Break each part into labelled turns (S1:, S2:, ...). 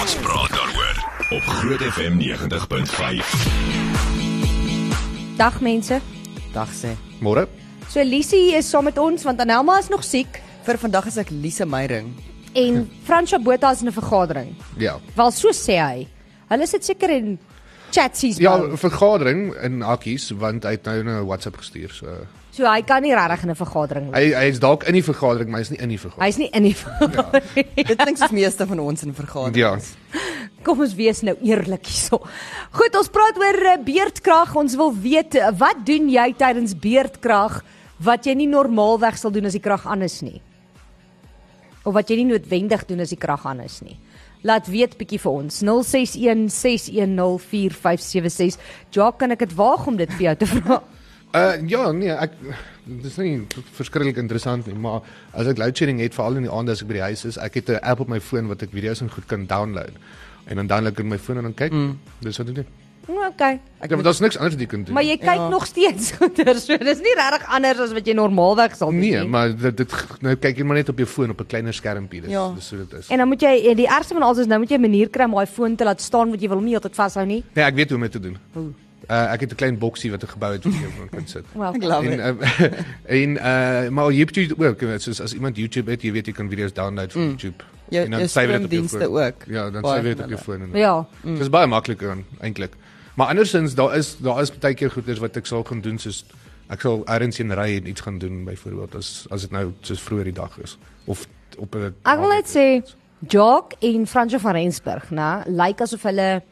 S1: Ons praat daaroor op Groot FM 90.5.
S2: Dag mense.
S3: Dag sê.
S4: Môre.
S2: So Lisie is saam met ons want Anelma is nog siek
S3: Vir vandag is ek Lise Meyring.
S2: en Franswa Botha is in 'n vergadering.
S4: Ja.
S2: Wel so sê hy. Hulle sit seker in chatsies.
S4: Ja,
S2: bou.
S4: vergadering in hakkies want hy het nou 'n WhatsApp gestuur. So
S2: So hy kan nie regtig in 'n vergadering. wees.
S4: hy hy is dalk in die vergadering, maar hy is nie in die vergadering.
S2: Hy's nie in die vergadering. Ja.
S3: Dit klink soos meeste van ons in vergadering.
S4: Ja.
S2: Kom ons wees nou eerlik hierso. Goed, ons praat oor eh, beerdkrag. Ons wil weet eh, wat doen jy tydens beerdkrag wat jy nie normaalweg sal doen as die krag aan is nie. Of wat jy nie noodwendig doen as die krag aan is nie. Laat weet bietjie vir ons 0616104576. Jacques, kan ek dit waag om dit vir jou te vra?
S4: Uh ja, nee, ek dis nie verskriklik interessant nie, maar as ek load shedding het veral in die aande as ek by die huis is, ek het 'n app op my foon wat ek video's en goed kan download. En dan download ek in my foon en dan kyk. Mm. Dis wat ek doen.
S2: Okay.
S4: Ek dink daar's niks anders wat jy kan doen.
S2: Maar jy kyk ja.
S3: Ja.
S2: nog steeds goeie. So dis nie regtig anders as wat jy normaalweg sal doen nie.
S4: nee, maar dit, dit nou kyk jy maar net op jou foon op 'n kleiner skermpie, dis
S3: Ja.
S4: ja. dis hoe dit is.
S2: En dan moet jy die ergste van alles is nou moet jy 'n manier kry om daai foon te laat staan want jy wil hom nie heeltyd vashou nie.
S4: Nee, ek weet hoe om dit te doen. Uh ek het 'n klein boksie wat ek gebou het wat jy kan sit.
S2: Wel,
S3: Ek love it.
S4: En uh, en uh maar YouTube ook, eh, soos as iemand YouTube het, jy weet jy kan video's download van mm. YouTube.
S3: Jou-
S4: en dan
S3: jou
S4: save dit op jou
S3: streamdienste
S4: foon.
S3: ook.
S4: Ja, dan
S3: Baie mm.
S4: save dit
S3: van
S4: op jou foon. en-
S2: ja.
S4: Dit is baie makliker dan eintlik. Maar andersins daar is daar is baie keer goeders wat ek sal gaan doen soos ek sal ergens heen ry en iets gaan doen byvoorbeeld as as dit nou soos vroeër die dag is of op 'n
S2: Ek wil net
S4: naweek.
S2: sê Jock en Fransjo van Rensburg, né, lyk asof hulle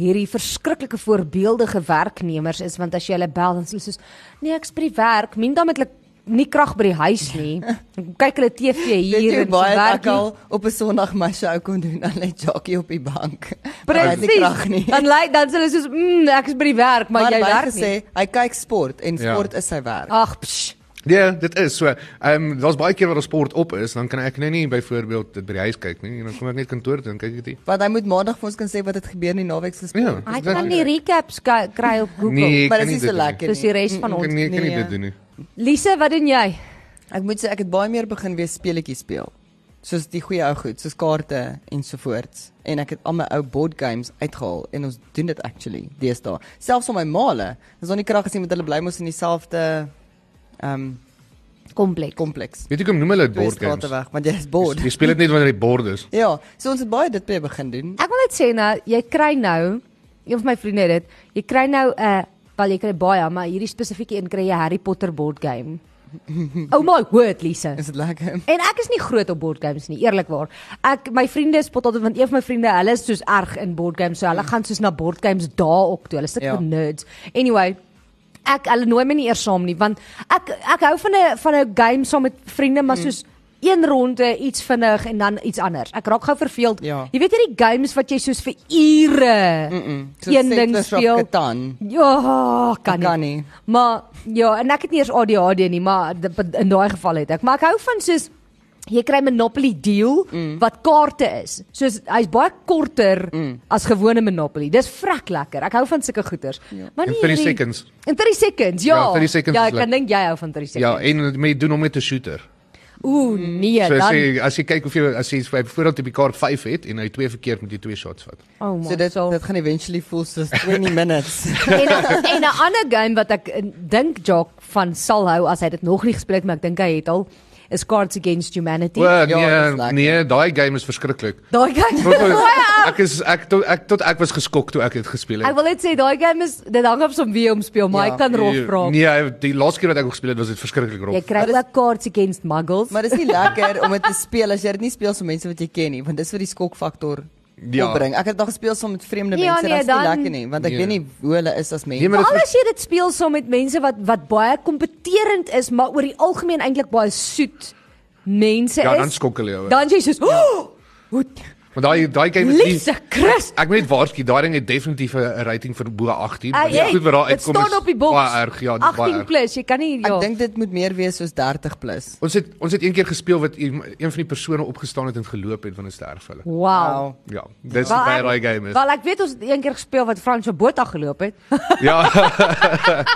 S2: hierdie verskriklike voorbeeldige werknemers is want as jy hulle bel dan sê hulle soos nee, ek's by die werk, min dan met hulle nie krag by die huis nie. Dan kyk hulle TV
S3: Weet
S2: hier
S3: jy
S2: en
S3: baie wat ek
S2: werk
S3: al op 'n Sondag my show kon doen aan lê jockey op die bank. Hy het nie krag nie.
S2: Presies. Dan lyk dan sê hulle soos, "Mm, ek is by die werk, maar, maar jy
S3: hy het
S2: werk nie."
S3: gesê hy kyk sport en
S4: Ja.
S3: sport is sy werk.
S2: Ag, psh.
S4: Ja, dit is so. Ehm um, daar's baie keer waar daar sport op is, dan kan ek nou nie byvoorbeeld dit by die huis kyk nie en dan kom ek net kantoor toe en kyk ek dit.
S3: Want hy moet maandag vir ons kan sê wat het gebeur in die naweek se sport.
S4: Ja.
S2: Hy kan nie recaps ky- kry op Google.
S4: Nee, ek
S3: maar
S4: kan
S3: dit
S4: nie
S3: is
S4: dit
S3: so
S4: doen nie.
S3: lekker.
S2: Dis die Mm,
S3: nie.
S2: res van
S4: Ek kan
S2: ons. eh.
S4: nie ek kan nie
S3: Nee,
S4: dit doen nie.
S2: Lise, wat doen jy?
S3: Ek moet sê ek het baie meer begin weer speletjies speel. Soos die goeie ou goed, soos kaarte en so voort. En ek het al my ou board games uitgehaal en ons doen dit actually deesdae. Selfs op my maale, is daar nie krag gesien met hulle bly mos in dieselfde ehm um,
S2: Komplek.
S3: kompleks.
S4: Weet jy kom noem hulle dit
S3: Twee
S4: board
S3: strate
S4: games.
S3: weg, want jy is bored.
S4: Jy speel dit net wanneer jy bored is.
S3: Ja, so ons het baie dit weer begin doen.
S2: Ek wil net sê nou, jy kry nou, een van my vriende het dit, jy kry nou 'n uh, wel jy kry baie, maar hierdie spesifieke een kry jy Harry Potter board game. oh my word, Lise.
S3: Is dit lekker?
S2: En ek is nie groot op board games nie, eerlikwaar. Ek my vriende spot altyd want een van my vriende, hulle is soos erg in board games, so hulle gaan soos na board games dae op toe. Hulle is sulke ja.
S3: Ja.
S2: nerds. Anyway, ek hulle nooi my nie eers saam nie want ek ek hou van 'n van 'n game saam met vriende, maar soos een ronde iets vinnig en dan iets anders. Ek raak gou verveeld.
S3: Ja.
S2: Jy weet hierdie games wat jy soos vir ure mm -mm. een ding speel.
S3: Katan.
S2: Ja, kan
S3: Ek
S2: nie.
S3: kan nie.
S2: Maar ja, en ek het nie eers ADHD nie, maar d- in daai geval het ek. Maar ek hou van soos jy kry Monopoly deal mm. wat kaarte is. Soos hy's baie korter mm. as gewone Monopoly. Dis vrek lekker. Ek hou van sulke goeters. Ja. Maar
S4: In
S2: nie
S4: 30
S2: hierdie-
S4: seconds.
S2: In 30 seconds. Ja.
S4: Ja, 30 seconds
S2: Ja,
S4: is
S2: ek kan
S4: lekker.
S2: dink jy hou van 30
S4: Ja,
S2: seconds.
S4: en jy doen hom met 'n shooter.
S2: Ja, Ooh, nee,
S4: So
S2: so,
S4: as
S2: dan.
S4: jy as jy kyk of jy as jy byvoorbeeld op die kaart 5 het en hy twee verkeerd met jy twee shots vat.
S2: Oh my.
S3: So dit
S2: soul.
S3: dit gaan eventually voel soos 20 minutes.
S2: en en 'n ander game wat ek eh, dink Jock van sal hou as hy dit nog nie gespeel het, maar ek dink hy het al is Cards Against Humanity.
S4: O
S3: dis
S4: nee,
S3: lekker.
S4: nee, daai game is verskriklik.
S2: Daai game.
S4: Want, eh, Ek is ek tot ek tot ek was geskok toe ek dit gespeel
S2: Ek
S4: het.
S2: wil net sê daai game is dit hang op som wie hom speel, maar ja,
S3: Ja.
S2: hy kan rof raak.
S4: Nee, die laaste keer wat ek gespeel het was dit verskriklik rof.
S2: Jy kry
S3: Maar dis-
S2: ook cards against muggles.
S3: Maar dis nie lekker om dit te speel as jy dit nie speel so mense wat jy ken nie, want dis vir die skokfaktor ja.
S4: Ja.
S3: opbring. Ek het dit al gespeel saam met vreemde
S2: Ja,
S3: mense,
S2: nee,
S3: dit is nie
S2: dan-
S3: lekker nie, want ek
S4: Nee.
S3: weet nie hoe hulle is as mense.
S4: Nee,
S3: Nee,
S4: maar dit
S2: Veral
S4: is-
S2: as jy dit speel saam met mense wat wat baie kompeterend is, maar oor die algemeen eintlik baie soet mense
S4: Ja,
S2: is.
S4: dan skok hulle jou.
S2: Dan is jy soos, "O, hoe
S4: Want daai daai game is nie
S2: Lise Christ."
S4: Ek moet net waarsku, daai ding het definitief 'n rating vir bo 18.
S2: Ah,
S4: want die
S2: jy,
S4: goed wat daar
S2: dit
S4: uitkom is
S2: staan op die boks.
S4: baie erg, ja, dit is baie
S2: 18
S4: erg.
S2: plus, jy kan nie
S3: ek
S2: ja.
S3: dink dit moet meer wees soos 30 plus.
S4: Ons het ons het een keer gespeel wat een een van die persone opgestaan het en geloop het van 'n sterf hulle.
S2: Wow.
S4: Ja, dis
S2: Wel,
S4: baie
S2: ek-
S4: daai game is.
S2: Wel ek weet ons het een keer gespeel wat Frans op Botha geloop het.
S4: Ja,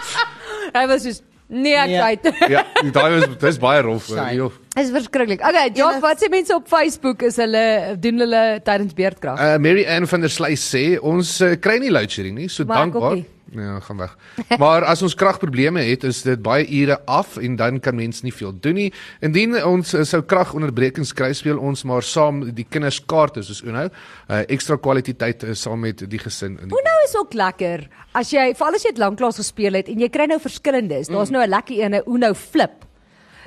S2: Hy was soos nee, ek
S3: Nee.
S2: tyd.
S4: ja, daai was dis baie rof.
S3: Shame.
S4: joh.
S2: Is verskriklik. Okay, Jock,
S3: Enig-
S2: wat sê mense op Facebook is hulle doen hulle tydens beerdkrag?
S4: Uh Mary Ann van der Sluys sê ons uh, kry nie load shedding nie, so
S2: Maar ek ook
S4: dankbaar. Ja, gaan weg. maar as ons kragprobleme het, is dit baie ure af en dan kan mens nie veel doen nie. Indien ons uh, sou kragonderbrekings kry, speel ons maar saam die kinders kaarte soos Uno. Uh ekstra kwaliteit uh, saam met die gesin in. die-
S2: Uno nou is ook lekker. As jy veral as jy dit lanklaas gespeel het en jy kry nou verskillendes.
S4: Mm.
S2: Daar's nou 'n lekker een, 'n Uno flip.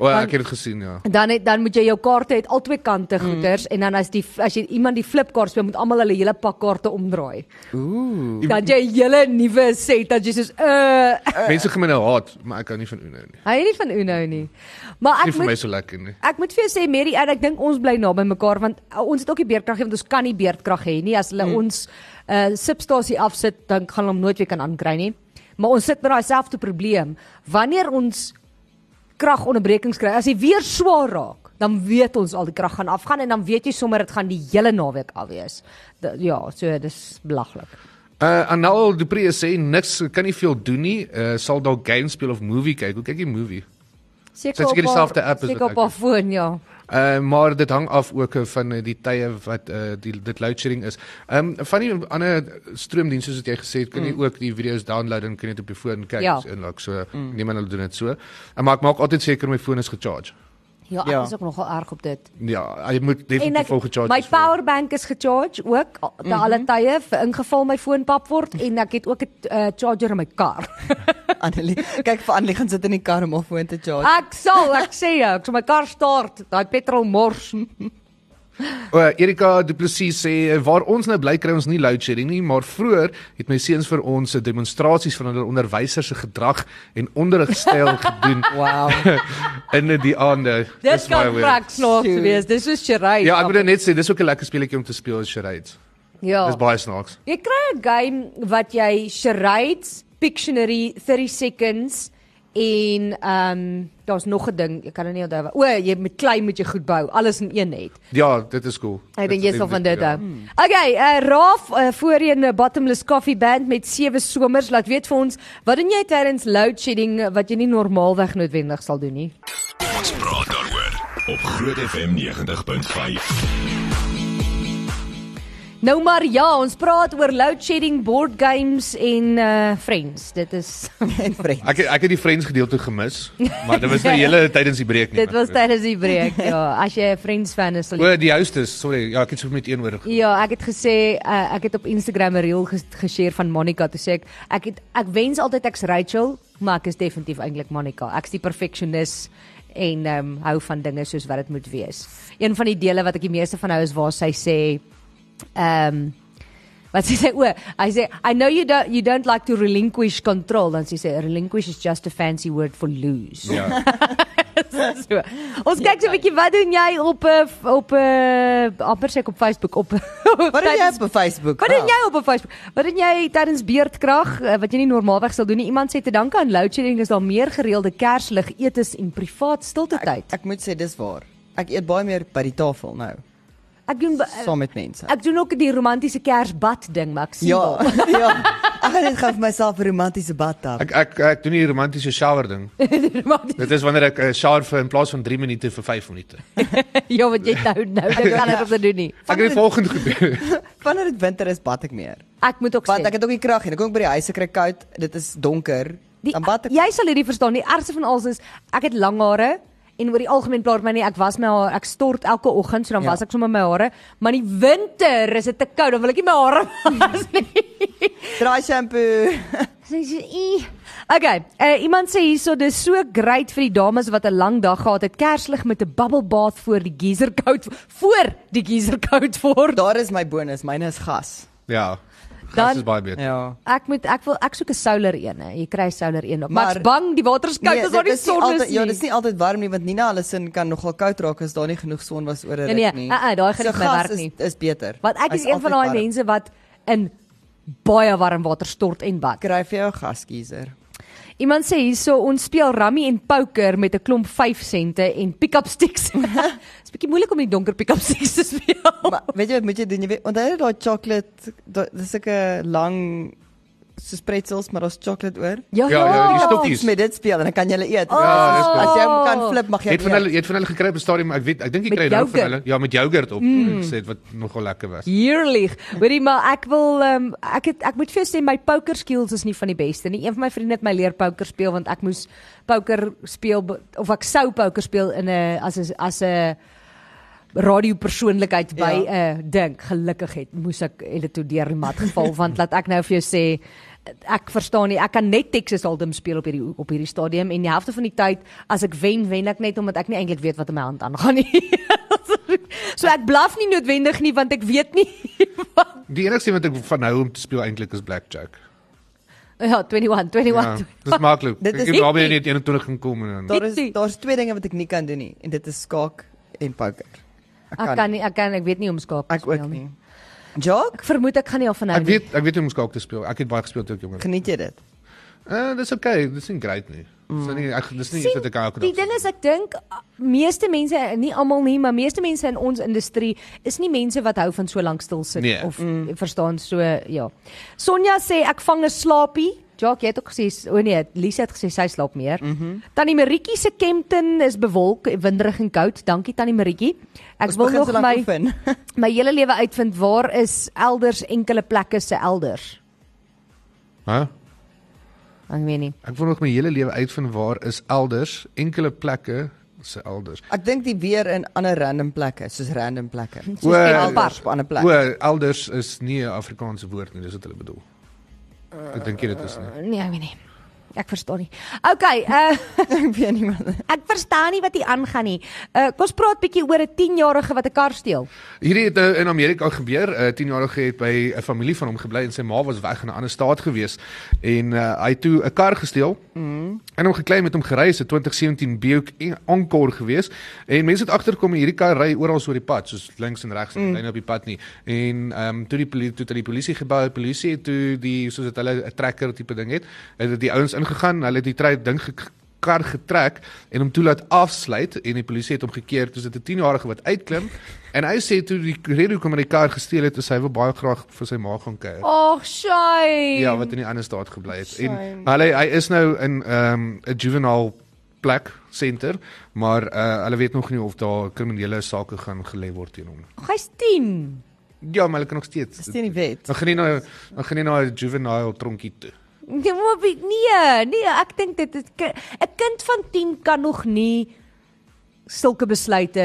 S4: O, oh, ek het dit gesien, ja.
S2: Dan het, dan moet jy jou kaarte uit al twee
S4: Mm.
S2: kante goeters en dan as die as jy iemand die flipkaart speel, moet almal hulle hele pak kaarte omdraai. Ooh. Dan jy 'n hele nuwe set dat jy soos uh
S4: Mense gaan my nou haat, maar ek hou nie van Uno nie.
S2: hy nie van Uno nie. Maar
S4: Nie
S2: ek
S4: vir my
S2: moet
S4: so lekker nie.
S2: Ek moet vir jou sê Mary en ek dink ons bly naby mekaar want uh, ons het ook die beerdkrag hê want ons kan nie beerdkrag hê nie as hulle mm. ons uh, substasie afsit dan gaan hulle hom nooit weer kan aankry nie. Maar ons sit met daai selfde probleem wanneer ons kragonderbrekings kry. As hy weer swaar raak, dan weet ons al die krag gaan afgaan en dan weet jy sommer dit gaan die hele naweek af wees. Da, ja, so dis belaglik.
S4: Uh Anal Dupree sê niks kan nie veel doen nie. Uh sal dalk game speel of movie kyk. Hoe kyk jy movie? Sy het
S2: op
S4: seker
S2: haar-
S4: dieselfde app as wat
S2: seker
S4: ek
S2: op haar foon, ja.
S4: Uh maar dit hang af ook eh, van eh, die tye wat uh die dit load shedding is. Ehm um, van die ander stroomdienste soos wat jy gesê het, kan jy mm. ook die video's download en kan jy dit op jou foon kyk
S2: Ja.
S4: ja. en like so. Mm. Niemand hulle doen dit so. En maar ek maak altyd seker my foon is gecharge.
S2: Ja, ek
S3: Ja.
S2: is ook nogal erg op dit.
S4: Ja, jy moet
S2: En
S4: definitief
S2: ek
S4: vol gecharge
S2: my
S4: wees voor-
S2: powerbank is gecharge ook te mm -hmm. alle tye vir ingeval my foon pap word en ek het ook 'n uh, charger in my kar.
S3: Annelie, kyk vir Annelie gaan sit in die kar om haar foon te charge.
S2: Ek sal, ek sê jou, ek sal my kar start, daai petrol mors.
S4: O, Erika Du Plessis sê eh, waar ons nou bly kry ons nie load shedding nie, maar vroeër het my seuns vir ons eh, demonstrasies van hulle onderwysers se gedrag en onderrigstyl gedoen
S3: Wow.
S4: in die aande.
S2: Dit
S4: baie
S2: kan
S4: weird.
S2: vrek snaaks
S3: Sjoe.
S2: wees. Dis soos charade.
S4: Ja, ek moet nou net sê dis ook 'n lekker speletjie om te speel, charades.
S2: Ja.
S4: Dis baie snaaks.
S2: Jy kry 'n game wat jy charades, Pictionary, 30 seconds en ehm um, daar's nog 'n ding, ek kan nou nie onthou. wat- O, jy met klei moet jy goed bou, alles in een net.
S4: Ja, dit is cool.
S2: Ek dink jy sal van dit
S4: ja.
S2: hou. Okay, uh, Raaf uh, voorheen 'n Bottomless Coffee Band met sewe somers laat weet vir ons, wat doen jy tydens load shedding eh, wat jy nie normaalweg noodwendig sal doen nie?
S1: Ons praat daaroor op Groot FM 90.5.
S2: Nou maar ja, ons praat oor load shedding, board games en uh friends. Dit is
S3: en vriend.
S4: Ja. Ek het- ek het die Friends gedeelte gemis, maar dit was nou hele tydens die breek nie.
S2: dit was tydens die breek. Ja, as jy 'n friends fan is, sal jy
S4: O, die hostess, sorry, ja, ek het so met een woord.
S2: Ja, ek het gesê uh, ek het op Instagram 'n reel ges geshare van Monica toe sê ek ek het ek wens altyd ek's Rachel, maar ek is definitief eintlik Monica. Ek's die perfeksionis en ehm um, hou van dinge soos wat dit moet wees. Een van die dele wat ek die meeste van hou is waar sy sê ehm um, wat sy sê o, hy sê I know you don't you don't like to relinquish control dan sy sê relinquish is just a fancy word for lose.
S4: Ja.
S2: So, ons kyk so 'n bietjie wat doen jy op 'n op 'n amper sê ek op Facebook op
S3: Wat doen jy op Facebook?
S2: Wat doen jy op 'n Facebook? Wat doen jy tydens beerdkrag eh, wat jy nie normaalweg sal doen nie? Iemand sê te danke aan load shedding is daar meer gereelde kerslig, etes en privaat stilte tyd.
S3: Ek moet sê dis waar. Ek eet baie meer by die tafel nou,
S2: Ek doen be-
S3: saam met mense.
S2: ek doen ook die romantiese kersbad ding, maar ek sien
S3: Ja,
S2: wel.
S3: ja. Ek gaan net gaan vir myself 'n romantiese bad tap.
S4: Ek ek ek doen nie romantiese shower ding.
S2: Die romantiese-
S4: Dit is wanneer ek 'n shower vir in plaas van 3 minute vir 5 minute.
S2: ja, wat jy nou nou dit kan ek op te doen nie.
S4: Ek het die volgende gedoen.
S3: Wanneer dit winter is, bad ek meer.
S2: Ek moet ook
S3: Want ek
S2: sê.
S3: het ook nie krag nie. Ek kom ook by die huis, ek kry koud, dit is donker.
S2: Die, ja.
S3: dan bad ek.
S2: jy sal hierdie verstaan. Die ergste van alles is ek het lang hare en oor die algemeen plaat my nie ek was my haar ek stort elke oggend so dan
S3: Ja.
S2: was ek sommer my hare maar in die winter is dit te koud dan wil ek nie my hare was nie
S3: Dry shampoo.
S2: Sy sê, "Ee." Okay, uh, iemand sê hierso dis so great vir die dames wat 'n lang dag gehad het. Kerslig met 'n bubble bath voor die geyser koud voor die geyser koud word.
S3: Daar is my bonus, myne is gas.
S4: Ja.
S2: Dan-
S4: Dit is baie beter.
S3: Ja.
S2: Ek moet ek wil ek soek 'n solar een. hè. Jy kry solar een. Maar, maar
S3: Maar-
S2: ek's bang die water is koud as daar nie
S3: Nee, dit is nie
S2: son is
S3: altyd-
S2: nie.
S3: Ja, dis nie altyd warm nie want Nina Allison kan nogal koud raak as daar nie genoeg son was oor 'n
S2: Nee, nee,
S3: ruk nie.
S2: uh-uh, daai gaan nie vir my
S3: gas
S2: werk nie.
S3: Is, is beter.
S2: Want ek
S3: Hy's
S2: is een van
S3: altyd
S2: daai
S3: warm.
S2: mense wat in baie warm water stort en bad.
S3: kry vir jou 'n gaskiezer.
S2: Iemand sê hierso ons speel rummy en poker met 'n klomp 5 sente en pick-up sticks. Dis bietjie moeilik om in die donker pick-up sticks te speel.
S3: Maar weet jy wat moet jy doen? Jy weet, onthou jy daai chocolate, daai dis 'n lang soos pretzels, maar daar's chocolate oor.
S2: Ja,
S4: Ja, ja, die stokkies.
S3: Ons met dit speel en dan kan jy hulle
S2: Oh.
S3: eet.
S4: Ja, dis
S3: As jy hom kan flip, mag jy
S4: Het
S3: hom
S4: van hulle
S3: eet.
S4: het van hulle gekry op 'n stadium, ek weet, ek dink jy
S2: Met
S4: kry nou van
S2: yoghurt.
S4: hulle. Ja, met yoghurt op. Mm. Sê dit wat nogal lekker was.
S2: Heerlik. Hoorie maar ek wil ehm ek het ek moet vir jou sê my poker skills is nie van die beste nie. Een van my vriende het my leer poker speel want ek moes poker speel be- of ek sou poker speel in 'n as 'n as 'n radiopersoonlikheid by 'n
S3: Ja.
S2: ding. Gelukkig het moes ek het dit toe deur die mat geval want laat ek nou vir jou sê ek verstaan nie. Ek kan net Texas Hold'em speel op hierdie op hierdie stadium en die helfte van die tyd as ek wen, wen ek net omdat ek nie eintlik weet wat in my hand aangaan nie. so ek blaf nie noodwendig nie want ek weet nie
S4: Die enigste wat ek van hou om te speel eintlik is blackjack.
S2: Ja, 21, 21.
S4: Ja, dus dis maklik.
S3: Dit
S4: Ek
S3: is
S4: het
S3: nie-
S4: naby net 21 gekom en dan
S3: Daar is daar's twee dinge wat ek nie kan doen nie en dit is skaak en poker.
S2: Ek kan nie, ek kan ek weet nie om skaak te
S3: Ek ook
S2: speel nie.
S3: nie. Jock,
S2: Ek vermoed ek gaan nie af van nou
S4: Ek
S2: nie.
S4: weet ek weet hoe om skaak te speel. Ek het baie gespeel toe ek jonger was.
S3: geniet jy dit?
S4: Eh, dis okay, dis nie great nie. Dis nie ek dis nie iets wat ek elke
S2: Die
S4: dag.
S2: ding is ek dink uh, meeste mense, nie almal nie, maar meeste mense in ons industrie is nie mense wat hou van so lank stil sit
S4: Nee.
S2: of verstaan so ja. Sonja sê ek vang 'n slaapie. Jacques, jy het ook gesê, o oh nee, Lisa het gesê sy slaap meer. Mm -hmm. Tannie Maritjie se Kempton is bewolk, winderig en koud. Dankie Tannie Maritjie. Ek
S3: Ons
S2: wil
S3: begin so
S2: nog
S3: lank
S2: my
S3: oefen.
S2: my hele lewe uitvind waar is elders enkele plekke se elders.
S4: Hæ?
S2: Ek weet nie.
S4: Ek wil nog my hele lewe uitvind waar is elders enkele plekke se elders.
S3: Ek dink die weer in ander random plekke, soos random plekke.
S2: Soos
S4: Oor-
S2: Kenal Park.
S3: Elders op ander
S4: O,
S3: plekke.
S4: elders is nie 'n Afrikaanse woord nie, dis wat hulle bedoel. Ek dink jy dit is nie.
S2: Nee, ek weet nie. Ek verstaan nie. Okay, uh,
S3: Ek weet nie wat.
S2: ek verstaan nie wat hier aangaan nie. Uh, kom ons praat bietjie oor 'n 10-jarige wat 'n kar steel.
S4: Hierdie het nou in Amerika gebeur. 'n 10-jarige het by 'n familie van hom gebly en sy ma was weg in 'n ander staat gewees en uh, hy het toe 'n kar gesteel. Mm. En hom geklim met hom gery is 'n 2017 Buick en- Encore gewees. En mense het agterkom hierdie kar ry oral oor die pad, soos links en regs, mm. en op die pad nie. En ehm um, toe die polisie toe het hulle die polisie gebou, polisie het toe die soos dat hulle 'n trekker tipe ding het, het dit die ouens ingegaan, hulle het die trei ding gek- kar getrek en hom toe laat afsluit en die polisie het hom gekeer toe sit 'n 10-jarige wat uitklim en hy sê toe die rede hoekom hy die kar gesteel het is hy wou baie graag vir sy ma gaan kuier.
S2: Ag, shy.
S4: Ja, wat in die ander staat gebly het. En
S3: Shame.
S4: hulle hy is nou in ehm 'n juvenile plek senter, maar uh, hulle weet nog nie of daar kriminele sake gaan gelê word teen hom.
S2: Hy's 10.
S4: Ja, maar hulle kan nog steeds.
S3: Dis teen die wet.
S4: Dan gaan nie na dan gaan nie na 'n juvenile tronkie toe.
S2: Nee, maar wie- nee, nee, ek dink dit is ki- 'n kind van 10 kan nog nie sulke besluite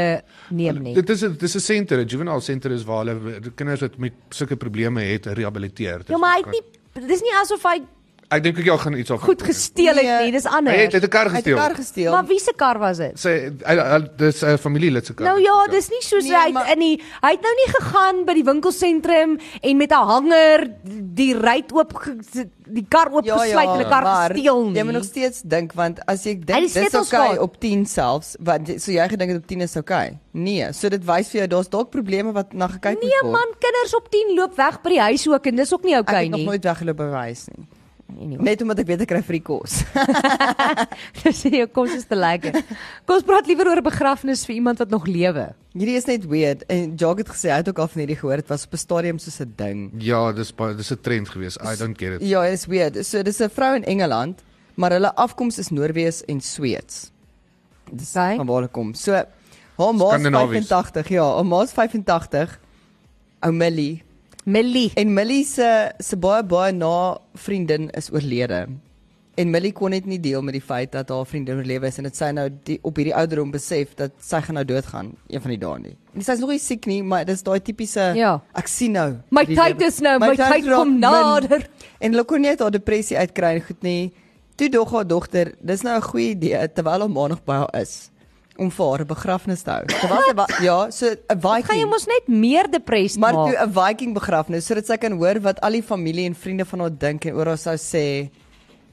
S2: neem nie.
S4: Dit is 'n dis 'n senter, 'n juvenile senter is waar hulle w- kinders wat met sulke probleme het rehabiliteer. Dis
S2: Ja, maar hy het
S4: wat-
S2: nie dis nie asof hy
S4: Ek dink ek ja gaan iets af.
S2: goed gesteel het nie, dis
S4: Hy het, hy het
S2: anders.
S4: 'n kar
S3: Hy het die
S4: gesteel.
S3: kar gesteel.
S2: Maar wie se kar was dit?
S4: Sy hy- hy- dis 'n familielid se kar.
S2: Nou ja, dis nie soos
S3: Nee,
S2: nee, hy
S3: maar-
S2: het in die hy het nou nie gegaan by die winkelsentrum en met 'n hanger die ruit oop ge- die kar oop ja, gesluit en 'n kar
S3: maar
S2: gesteel nie.
S3: Jy moet nog steeds dink want as jy
S2: Hy het die
S3: dink dis
S2: sleutels
S3: okay
S2: gehad.
S3: op 10 selfs, want jy- so jy gedink het op 10 is okay. Nee, so dit wys vir jou daar's dalk probleme wat na gekyk
S2: Nee
S3: moet word.
S2: man, kinders op 10 loop weg by die huis ook en dis ook nie
S3: ek
S2: oukei
S3: het nog
S2: nie.
S3: nooit weggeloop bewys nie.
S2: Anyway,
S3: Net omdat ek weet ek kry free kos.
S2: Dis jou kos is te lekker. Kom ons praat liewer oor 'n begrafnis vir iemand wat nog lewe.
S3: Hierdie is net weird en Jock het gesê hy het ook al van hierdie gehoor. Dit was op 'n stadium soos 'n ding.
S4: Ja, dis baie dis 'n trend gewees. I don't get it.
S3: Ja, dit is weird. So dis 'n vrou in Engeland, maar hulle afkoms is Noorwees en Sweeds. Dis
S2: Okay.
S3: van waar hulle kom. So haar ma is
S4: Skandinawies.
S3: 85, ja, haar ma is 85. Ou Millie
S2: Millie.
S3: en Millie se se baie baie na vriendin is oorlede. En Millie kon net nie deel met die feit dat haar vriendin oorlewe is en dit sy nou die, op hierdie ouderdom besef dat sy gaan nou doodgaan een van die dae nie. En sy's nog nie siek nie, maar dis daai tipiese
S2: Ja.
S3: ek sien nou.
S2: My
S3: die
S2: tyd
S3: lewe-
S2: is nou, my tyd
S3: raak
S2: kom
S3: min.
S2: nader.
S3: En hulle kon net haar depressie uitkry en goed nie. Toe dog haar dogter, dis nou 'n goeie idee terwyl haar ma nog by haar is om vir haar 'n begrafnis te hou. Terwyl sy wa- ja, so 'n
S2: Gaan jy
S3: Viking.
S2: mos net meer depressed
S3: Maar
S2: maak?
S3: toe 'n Viking begrafnis sodat sy kan hoor wat al die familie en vriende van haar dink en oor haar sou sê.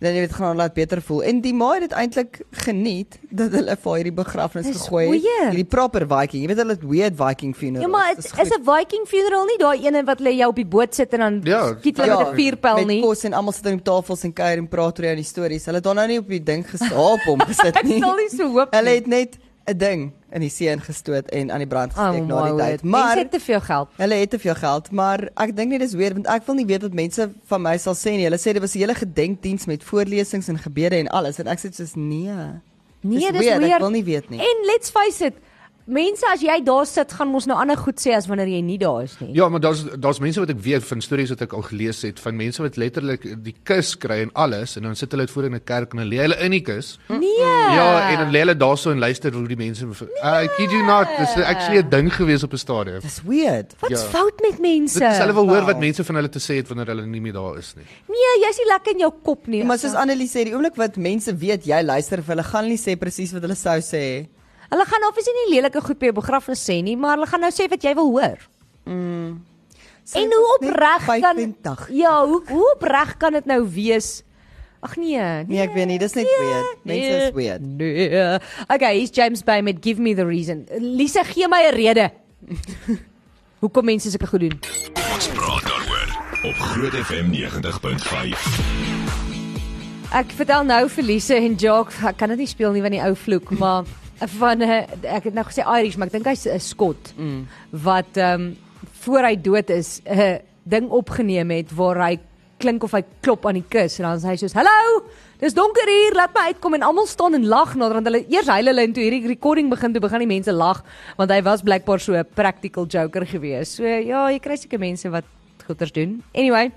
S3: Dan jy weet gaan haar laat beter voel. En die ma het dit eintlik geniet dat hulle vir haar hierdie begrafnis
S2: Dis
S3: gegooi het.
S2: weird.
S3: Hierdie proper Viking. Jy weet hulle het weird Viking funerals.
S2: Ja, maar
S3: Dis
S2: dit
S3: goed.
S2: is 'n Viking funeral nie daai ene wat hulle jou op die boot sit en dan
S4: Ja,
S2: skiet hulle met 'n vuurpyl nie.
S3: Met kos en almal sit aan die tafels en kuier en praat oor jou en die stories. Hulle het dan nou nie op die ding gesaap hom gesit
S2: Ek
S3: nie.
S2: sal nie so hoop
S3: Hulle
S2: nie.
S3: het net 'n ding in die see ingestoot en aan die brand
S2: Oh,
S3: gesteek na
S2: my
S3: die
S2: word.
S3: tyd.
S2: Mense
S3: Maar
S2: het te veel geld.
S3: Hulle het te veel geld, maar ek dink nie dis weer want ek wil nie weet wat mense van my sal sê nie. Hulle sê dit was 'n hele gedenkdiens met voorlesings en gebede en alles en ek sê soos nee.
S2: Nee,
S3: Dis
S2: dis
S3: weird, ek
S2: weer.
S3: wil nie weet nie.
S2: En let's face it, mense as jy daar sit, gaan ons nou ander goed sê as wanneer jy nie daar is nie.
S4: Ja, maar daar's daar's mense wat ek weet van stories wat ek al gelees het van mense wat letterlik die kus kry en alles en dan sit hulle dit voor in 'n kerk en dan lê hulle in die kus.
S2: Nee.
S4: Ja, en dan lê hulle daarso en luister hoe die mense I kid you not, dis actually 'n ding gewees op 'n stadium.
S3: Dis weird.
S2: Wat's
S4: Ja.
S2: fout met mense?
S4: Dit is hulle wil hoor
S3: Wow.
S4: wat mense van hulle te sê het wanneer hulle nie meer daar is nie.
S2: Nee, jy's nie lekker in jou kop nie.
S3: Nee,
S2: Ja.
S3: Maar soos Annelie sê, die oomblik wat mense weet jy luister vir hulle gaan hulle nie sê presies wat hulle sou sê.
S2: Hulle gaan obviously nie lelike goed by jou begrafnis sê nie, maar hulle gaan nou sê wat jy wil hoor.
S3: Sê
S2: en hoe
S3: ons net
S2: opreg kan
S3: 25.
S2: Ja, hoe hoe opreg kan dit nou wees? Ag nee.
S3: Nee, ek weet nie, dis net weird. Mense is weird.
S2: Ja, Nee. Okay, hier's James Bay met Give Me the Reason. Lisa, gee my 'n rede. Hoekom mense sulke goed doen?
S1: Ons praat daaroor op Groot FM 90.5.
S2: Ek vertel nou vir Lise en Jock, ek kan dit nie speel nie van die ou vloek, maar van eh, ek het nou gesê Irish, maar ek dink hy's 'n Skot. Mm. Wat ehm um, voor hy dood is, 'n ding opgeneem het waar hy klink of hy klop aan die kus en dan sê hy soos: "Hallo, dis donker hier, laat my uitkom." En almal staan en lag naderhand hulle eers huil hulle en toe hierdie recording begin, toe begin die mense lag want hy was blykbaar so 'n practical joker gewees. So ja, jy kry seker mense wat goeters doen. Anyway,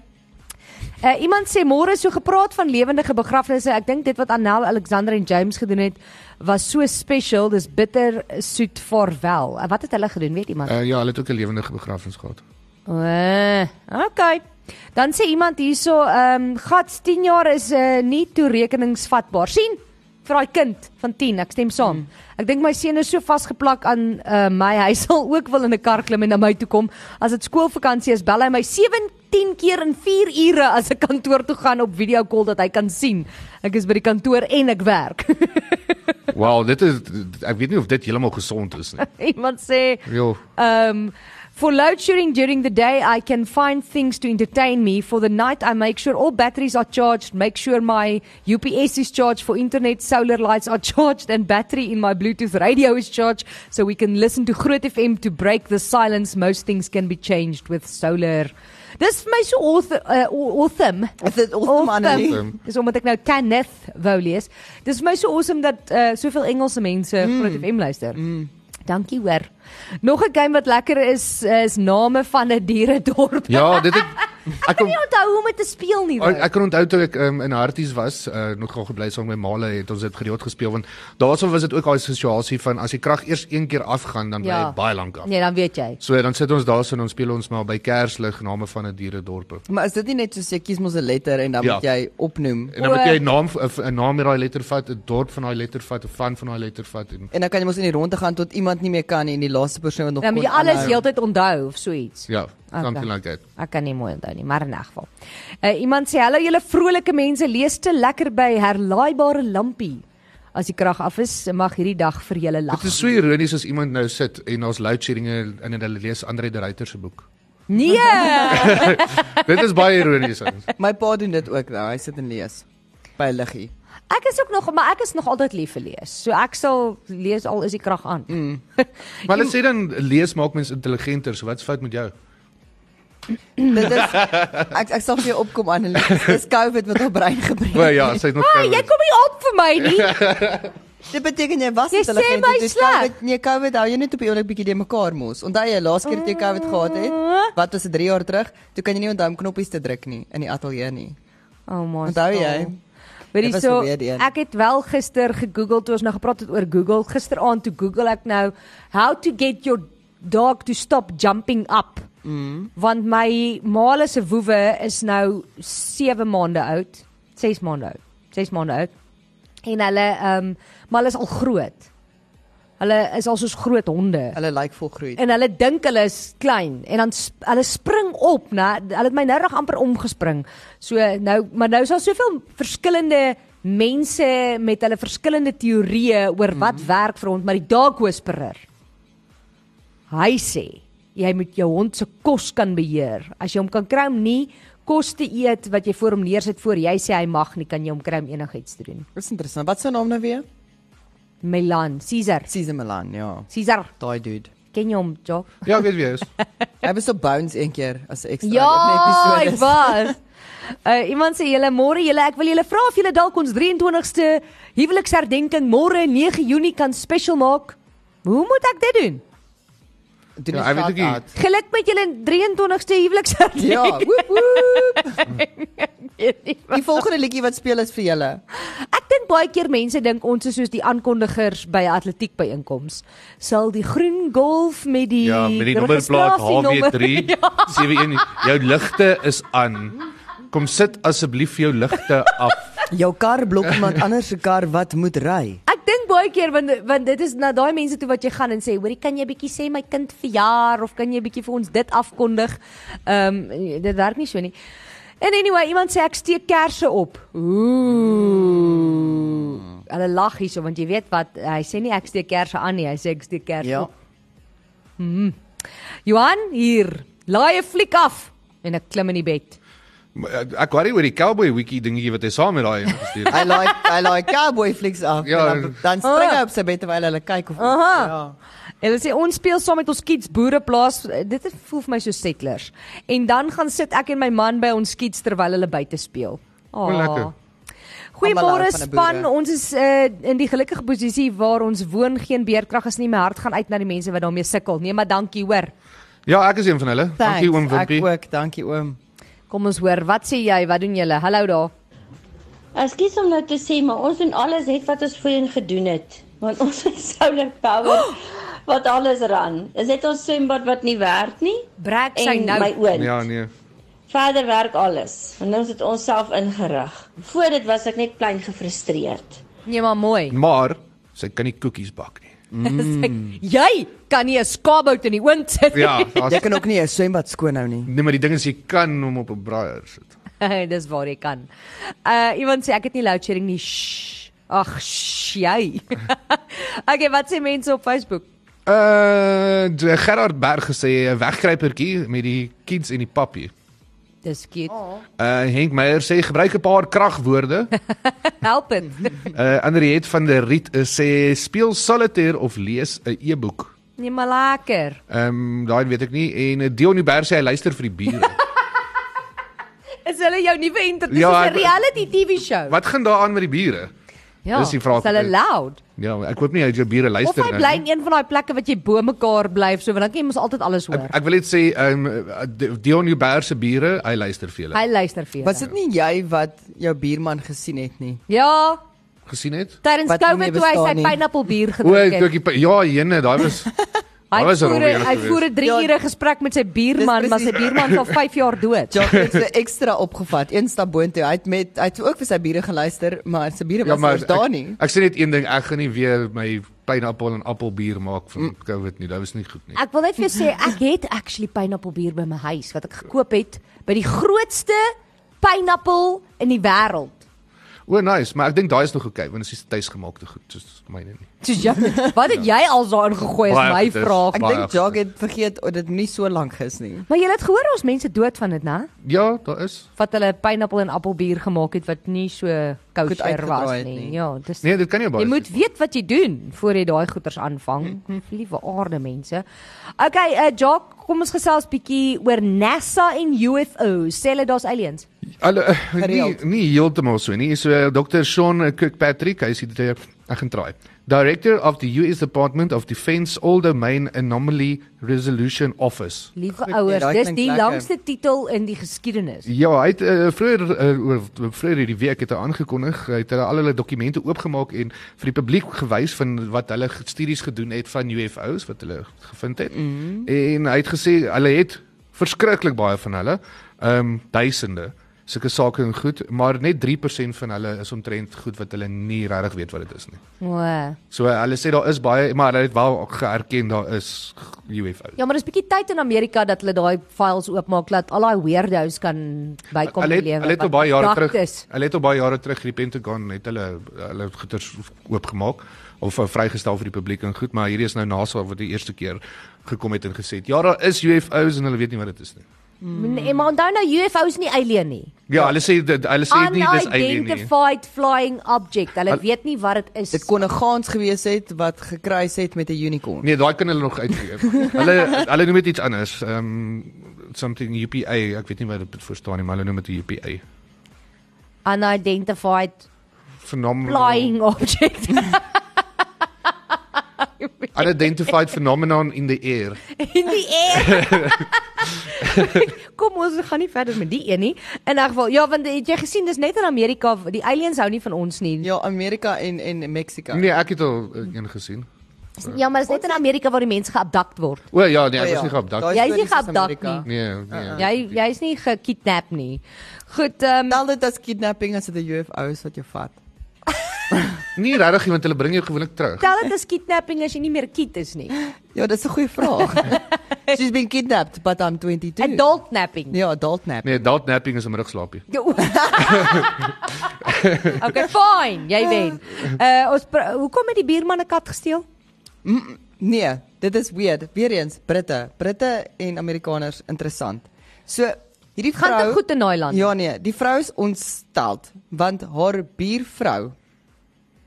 S2: Uh, iemand sê môre is so gepraat van lewendige begrafnisse. Ek dink dit wat Annel Alexander en James gedoen het was so special. Dis bitter soet vaarwel. Uh, wat het hulle gedoen, weet iemand?
S4: Uh, ja, hulle het ook 'n lewendige begrafnis gehad.
S2: Uh, okay. Dan sê iemand hierso, ehm um, gats 10 jaar is uh, nie toerekeningsvatbaar. sien? Vir daai kind van 10, ek stem saam. Ek dink my seun is so vasgeplak aan uh, my, hy sal ook wil in 'n kar klim en na my toe kom. As dit skoolvakansie is, bel hy my 17 keer in 4 ure as ek kantoor toe gaan op video call dat hy kan sien ek is by die kantoor en ek werk.
S4: Wow, dit is ek weet nie of dit heeltemal gesond is nie.
S2: iemand sê,
S4: Jo.
S2: Um, for load shedding during the day, I can find things to entertain me. For the night, I make sure all batteries are charged, make sure my UPS is charged, for internet, solar lights are charged, and battery in my Bluetooth radio is charged, so we can listen to Groot FM to break the silence. Most things can be changed with solar. Dis vir my so awesome. Uh, aw- awesome.
S3: Is dit awesome, Annelie?
S4: Awesome.
S2: Dis omdat ek nou Kenneth wou lees. Dis vir my so awesome dat uh, soveel Engelse mense mm. Groot FM luister. Mm. Dankie hoor. Nog 'n game wat lekker is eh, is name van 'n dieredorp.
S4: Ja, dit het, ek kom Oh,
S2: Jy onthou hoe om dit te speel nie.
S4: Ek,
S2: Ek,
S4: ek kan onthou toe ek um, in Harties was, uh, nogal gebly saam met my maale het ons dit gereeld gespeel want daarso was dit ook daai situasie van as die krag eers een keer afgaan dan bly
S2: Ja.
S4: ja. baie lank af.
S2: nee, dan weet jy.
S4: So dan sit ons daarso en ons speel ons maar by Kerslig name van 'n diere dorpe.
S3: Maar is dit nie net soos jy kies mos 'n letter en dan
S4: Ja.
S3: moet jy opnoem?
S4: En dan
S2: O.
S4: moet
S2: eh,
S4: jy 'n naam 'n naam met daai letter vat, 'n dorp van daai letter vat, 'n van van daai letter vat en
S3: En dan kan jy mos in die ronde gaan tot iemand nie meer kan nie en die laaste persoon wat nog
S2: Dan moet jy
S3: kon
S2: alles
S3: aanhou.
S2: heeltyd onthou of so iets.
S4: nou. ja,
S2: Okay.
S4: something okay. like that.
S2: Ek kan nie mooi onthou nie, maar in 'n geval. Uh, iemand sê hallo julle vrolike mense, lees te lekker by herlaaibare lampie. As die krag af is, mag hierdie dag vir julle lag.
S4: Dit is so ironies as iemand nou sit en ons load shedding en en hulle lees Andre de Ruyter se boek.
S2: Nee.
S4: Dit is baie ironies. ouens.
S3: My pa doen dit ook nou. Hy sit en lees by 'n liggie.
S2: Ek is ook nog maar ek is nog altyd lief vir lees. So ek sal lees al is die krag aan. Mm.
S4: Maar hulle sê dan lees maak mense intelligenter, so wat's fout met jou?
S3: Dit is ek ek sal vir jou opkom Annelies. Dis COVID wat haar brein gebreek.
S4: Wel ja, sy's nog
S2: Hey, Ah, jy kom nie op vir my nie.
S3: Dit beteken jy was
S2: Jy sê
S3: intelligent.
S2: my
S3: dit is
S2: sleg.
S3: COVID, nee COVID hou jy net op die oomblik bietjie de mekaar mos. Onthou jy laas keer dat jy COVID gehad
S2: Ah.
S3: het? Wat was dit 3 jaar terug? Toe kan jy nie onthou om knoppies te druk nie in die ateljee nie.
S2: Oh my.
S3: Onthou
S2: stil.
S3: jy?
S2: Weet jy
S3: Dit was
S2: so,
S3: nou weer die een.
S2: ek het wel gister gegoogel toe ons nou gepraat het oor Google. Gisteraand toe Google ek nou how to get your dog to stop jumping up. Mm. Want my male se woewe is nou 7 maande oud, 6 maande oud, 6 maande oud. En hulle ehm um, maar hulle is al groot. Hulle is al soos groot honde.
S3: Hulle lyk like volgroei.
S2: en hulle dink hulle is klein en dan sp hulle spring op, né? Hulle het my nou nog amper omgespring. So nou, maar nou is daar soveel verskillende mense met hulle verskillende teorieë oor wat werk vir hond, maar die dog whisperer. Hy sê jy moet jou hond se kos kan beheer. As jy hom kan kry om nie kos te eet wat jy voor hom neersit voor jy sê hy mag nie, kan jy hom kry om enigiets te doen.
S3: Dis interessant. Wat se naam nou weer?
S2: Milan, Caesar.
S3: Caesar Milan, ja.
S2: Caesar,
S3: Daai dude.
S2: ken jy hom, Jo?
S4: Ja, ek weet wie hy is.
S3: Hy was op Bones een keer as 'n ekstra
S2: Ja,
S3: in 'n
S2: ek
S3: episode.
S2: was. Uh, iemand sê julle môre julle ek wil julle vra of julle dalk ons 23ste huweliksherdenking môre 9 Junie kan special maak. Hoe moet ek dit doen?
S3: Doen
S4: Ja,
S3: die
S4: hy weet
S3: shout
S4: ook nie.
S3: out.
S2: Geluk met julle 23ste
S3: Ja,
S2: huweliksherdenking.
S3: woep woep.
S2: Ja.
S3: Die volgende liedjie wat speel is vir julle.
S2: Ek dink baie keer mense dink ons is soos die aankondigers by 'n atletiek byeenkoms. Sal die groen golf met die
S4: Ja, met die nommerplaat
S2: registrasienommer-
S4: HW3 71. Jou ligte is aan. Kom sit asseblief jou ligte af.
S3: Jou kar blok iemand anders se kar wat moet ry.
S2: Ek dink baie keer want want dit is na daai mense toe wat jy gaan en sê, "Hoorie, kan jy bietjie sê my kind verjaar of kan jy bietjie vir ons dit afkondig?" Ehm um, dit werk nie so nie. En anyway, iemand sê ek steek kersse op. Ooh. Hulle lag hierso want jy weet wat, hy sê nie ek steek kersse aan nie, hy sê ek steek kersse
S3: Ja.
S2: op. Johan, hier. Laai 'n fliek af en ek klim in die bed.
S4: Maar Ek ek worry oor die cowboy wiki dingetjie wat hy saam met daai een gestuur het.
S3: I like I like cowboy flicks af.
S4: Ja.
S3: Ja. Dan, dan spring hy op sy bed terwyl hulle kyk of
S2: Aha.
S3: Ja.
S2: Hulle sê ons speel saam met ons kids boereplaas. Dit is- voel vir my so settlers. En dan gaan sit ek en my man by ons kids terwyl hulle buite speel. Ah.
S4: O, lekker.
S2: Goeiemôre
S3: Allemaal hou van 'n
S2: span.
S3: boere.
S2: Ons is uh, in die gelukkige posisie waar ons woon, geen beerkrag is nie. My hart gaan uit na die mense wat daarmee sukkel. Nee, maar dankie hoor.
S4: Ja, ek is een van hulle. Dankie oom
S3: Ek
S4: Wimpie.
S3: ook, dankie oom.
S2: Kom ons hoor. Wat sê jy? Wat doen julle? Hallo daar.
S5: Ekskuus om nou te sê, maar ons doen alles net wat ons voorheen gedoen het. Want ons is solar power wat alles ran. Is dit ons swembad wat nie werk nie?
S2: Brek sy
S5: En
S2: nou.
S5: my oond.
S4: Ja, nee.
S5: Verder werk alles. En ons het onsself ingerig. Voor dit was ek net klein gefrustreerd.
S2: Nee, maar mooi.
S4: Maar sy kan nie koekies bak nie.
S2: Mm. Jy kan nie 'n skaapbout in die oond sit nie.
S4: Ja, daar's
S3: Jy kan ook nie 'n swembad skoon hou nie.
S4: nee, maar die ding is jy kan hom op 'n braaier sit.
S2: Dis waar jy kan. Uh iemand sê ek het nie load shedding nie. Shh. Ag, shh, jy. okay, wat sê mense op Facebook?
S4: Uh de- Gerard Berg gesê 'n wegkruipertjie met die kids en die pappie.
S2: Dis cute. Oh.
S4: Uh Henk Meyer sê gebruik 'n paar kragwoorde.
S2: Help dit.
S4: Uh Andriet van der Riet uh, sê speel solitaire of lees 'n e-boek.
S2: nee, maar lekker.
S4: Ehm um, daai weet ek nie en uh, Dion Huber sê hy luister vir die bure.
S2: Is hulle jou nuwe entertainment? Ja,
S4: Ja, ek-
S2: Dis 'n reality TV show.
S4: Wat gaan daaraan met die bure?
S2: ja,
S4: dis die vraag.
S2: Is hulle loud?
S4: Ja, maar ek hoop nie hy het jou bure
S2: Of
S4: luister
S2: hy
S4: nou
S2: bly
S4: nie.
S2: in een van daai plekke wat jy bo mekaar bly of so, want dan kan jy mos altyd alles hoor.
S4: Ek, ek wil net sê ehm um, Dion Huber se bure, hy luister vir julle.
S2: Hy luister vir
S3: Was
S2: jou.
S3: dit nie jy wat jou buurman gesien het nie?
S2: Ja,
S4: Gesien het?
S2: tydens
S3: Wat nie
S2: COVID
S3: meer
S2: toe hy
S3: bestaan
S2: sy
S3: nie.
S2: pineappelbier
S4: O,
S2: gedrink het.
S4: ek dink ja, jene, daai was
S2: Hy
S4: Daar was 'n
S2: voer 'n-
S4: roddie
S2: hy
S4: gewees.
S2: voer 'n 3
S3: Ja.
S2: ure gesprek met sy buurman,
S3: Dis
S2: maar sy
S3: presies.
S2: buurman is al 5 jaar dood.
S3: Jock het se ekstra opgevat, een stap boontoe. Hy het met hy het ook vir sy bure geluister, maar sy bure was ja, maar, daar nie.
S4: Ek, ek sê net een ding, ek gaan nie weer my pineappel en appelbier maak van mm. COVID nie. Dit was nie goed nie.
S2: Ek wil net vir jou sê ek het actually pineappelbier by my huis wat ek gekoop het by die grootste pineappel in die wêreld.
S4: O, nice, maar ek dink daai is nog oukei, okay, want dit is tuisgemaakte goed, soos myne nie.
S2: Soos jy, wat het jy al daarin gegooi is
S4: Baie
S2: my
S4: goed is.
S2: vraag.
S3: Ek
S4: baie
S3: dink Jock het vergeet dat dit nie so lank is nie.
S2: Maar jy het gehoor ons mense dood van dit, né?
S4: Ja, daar is.
S2: Wat hulle pineappel en appelbier gemaak het wat nie so kosher
S3: uitgedraai
S2: was
S3: het
S2: nie.
S3: nie.
S2: Ja, dis
S4: Nee, dit kan nie baie.
S2: Jy moet
S4: sê.
S2: weet wat jy doen voor jy daai goeters aanvang. Liewe aarde mense. Okay, uh Jock, kom ons gesels bietjie oor NASA en UFO's. Sê hulle daar's aliens?
S4: Alle eh, nie
S3: Gereeld.
S4: nie heeltemal so nie. So eh, Dr. Sean Kirkpatrick, hy is die eh, ek gaan try. Director of the US Department of Defense All Domain Anomaly Resolution Office.
S2: Liewe
S3: Goed, nee,
S2: ouers,
S3: daai
S2: dis
S3: klink
S2: die
S3: lekker.
S2: langste titel in die geskiedenis.
S4: Ja, hy het uh, vroeër uh, oor vroeër hierdie week het hy aangekondig, hy het hulle al hulle dokumente oopgemaak en vir die publiek gewys van wat hulle ge- studies gedoen het van UFO's wat hulle gevind het. Mm. En hy het gesê hulle het verskriklik baie van hulle, ehm um, duisende sulke sake en goed, maar net 3% van hulle is omtrent goed wat hulle nie regtig weet wat dit is nie.
S2: O.
S4: So uh, hulle sê daar is baie, maar hulle het wel geerken daar is UFO's.
S2: Ja, maar dis bietjie tyd in Amerika dat hulle daai files oopmaak dat al daai weirdos kan bykom in
S4: Hulle het,
S2: die lewe.
S4: hulle het al
S2: wat
S4: baie jare
S2: verdacht
S4: terug,
S2: is.
S4: hulle het al baie jare terug hierdie Pentagon het hulle hulle goeders oopgemaak of uh, vrygestel vir die publiek en goed, maar hierdie is nou NASA wat die eerste keer gekom het en gesê het ja, daar is UFO's en hulle weet nie wat dit is nie.
S2: Mm. Maar onthou nou UFO's nie alien nie.
S4: Ja, hulle sê dit hulle sê nie dis alien nie.
S2: Unidentified flying object. Hulle
S4: Al-
S2: weet nie wat dit is.
S3: Dit kon 'n gaans gewees het wat gekruis het met 'n unicorn.
S4: Nee, daai kan hulle nog uitgee. hulle hulle noem dit iets anders. Ehm something UPA, ek weet nie wat dit verstaan nie, maar hulle noem dit 'n UPA.
S2: Unidentified
S4: Phenomenon
S2: flying
S4: Ja.
S2: object.
S4: unidentified phenomenon in the air.
S2: in die air. Kom ons gaan nie verder met die een nie. In 'n geval, ja, want het jy gesien dis net in Amerika, die aliens hou nie van ons nie. Ja,
S3: Ja, Amerika en en Mexico.
S4: Nee, ek het al eh, een gesien.
S2: ja maar dis net in Amerika waar die mense geabdukt word.
S4: O ja, nee,
S3: O
S4: ek
S3: ja,
S4: was nie geabdukt.
S3: daai
S4: nie.
S2: Jy is nie
S3: stories is
S2: geabdukt
S3: Amerika.
S2: nie.
S4: Nee, nee.
S2: Jy jy's nie gekidnap nie. Goed, ehm um,
S3: Tel dit as kidnapping as dit 'n UFO is wat jou vat.
S4: nie
S2: Ja-
S4: regtig nie, want hulle bring jou gewoonlik terug.
S2: tel dit as kidnapping as jy nie meer kid is nie.
S3: Ja, dis 'n goeie vraag. She's been kidnapped but I'm 22.
S2: Adult napping.
S3: Ja, adult nap.
S4: Nee, adult napping is 'n middagslaapie.
S2: Ja, o- okay, fyn, jy wen. Uh ons pra- hoekom het die buurman 'n kat gesteel?
S3: Nee, dit is weird. Weereens Britte, Britte en Amerikaners interessant. So hierdie vrou
S2: Gaan dit goed in daai land?
S3: Ja nee, die vrou is ontsteld want haar buurvrou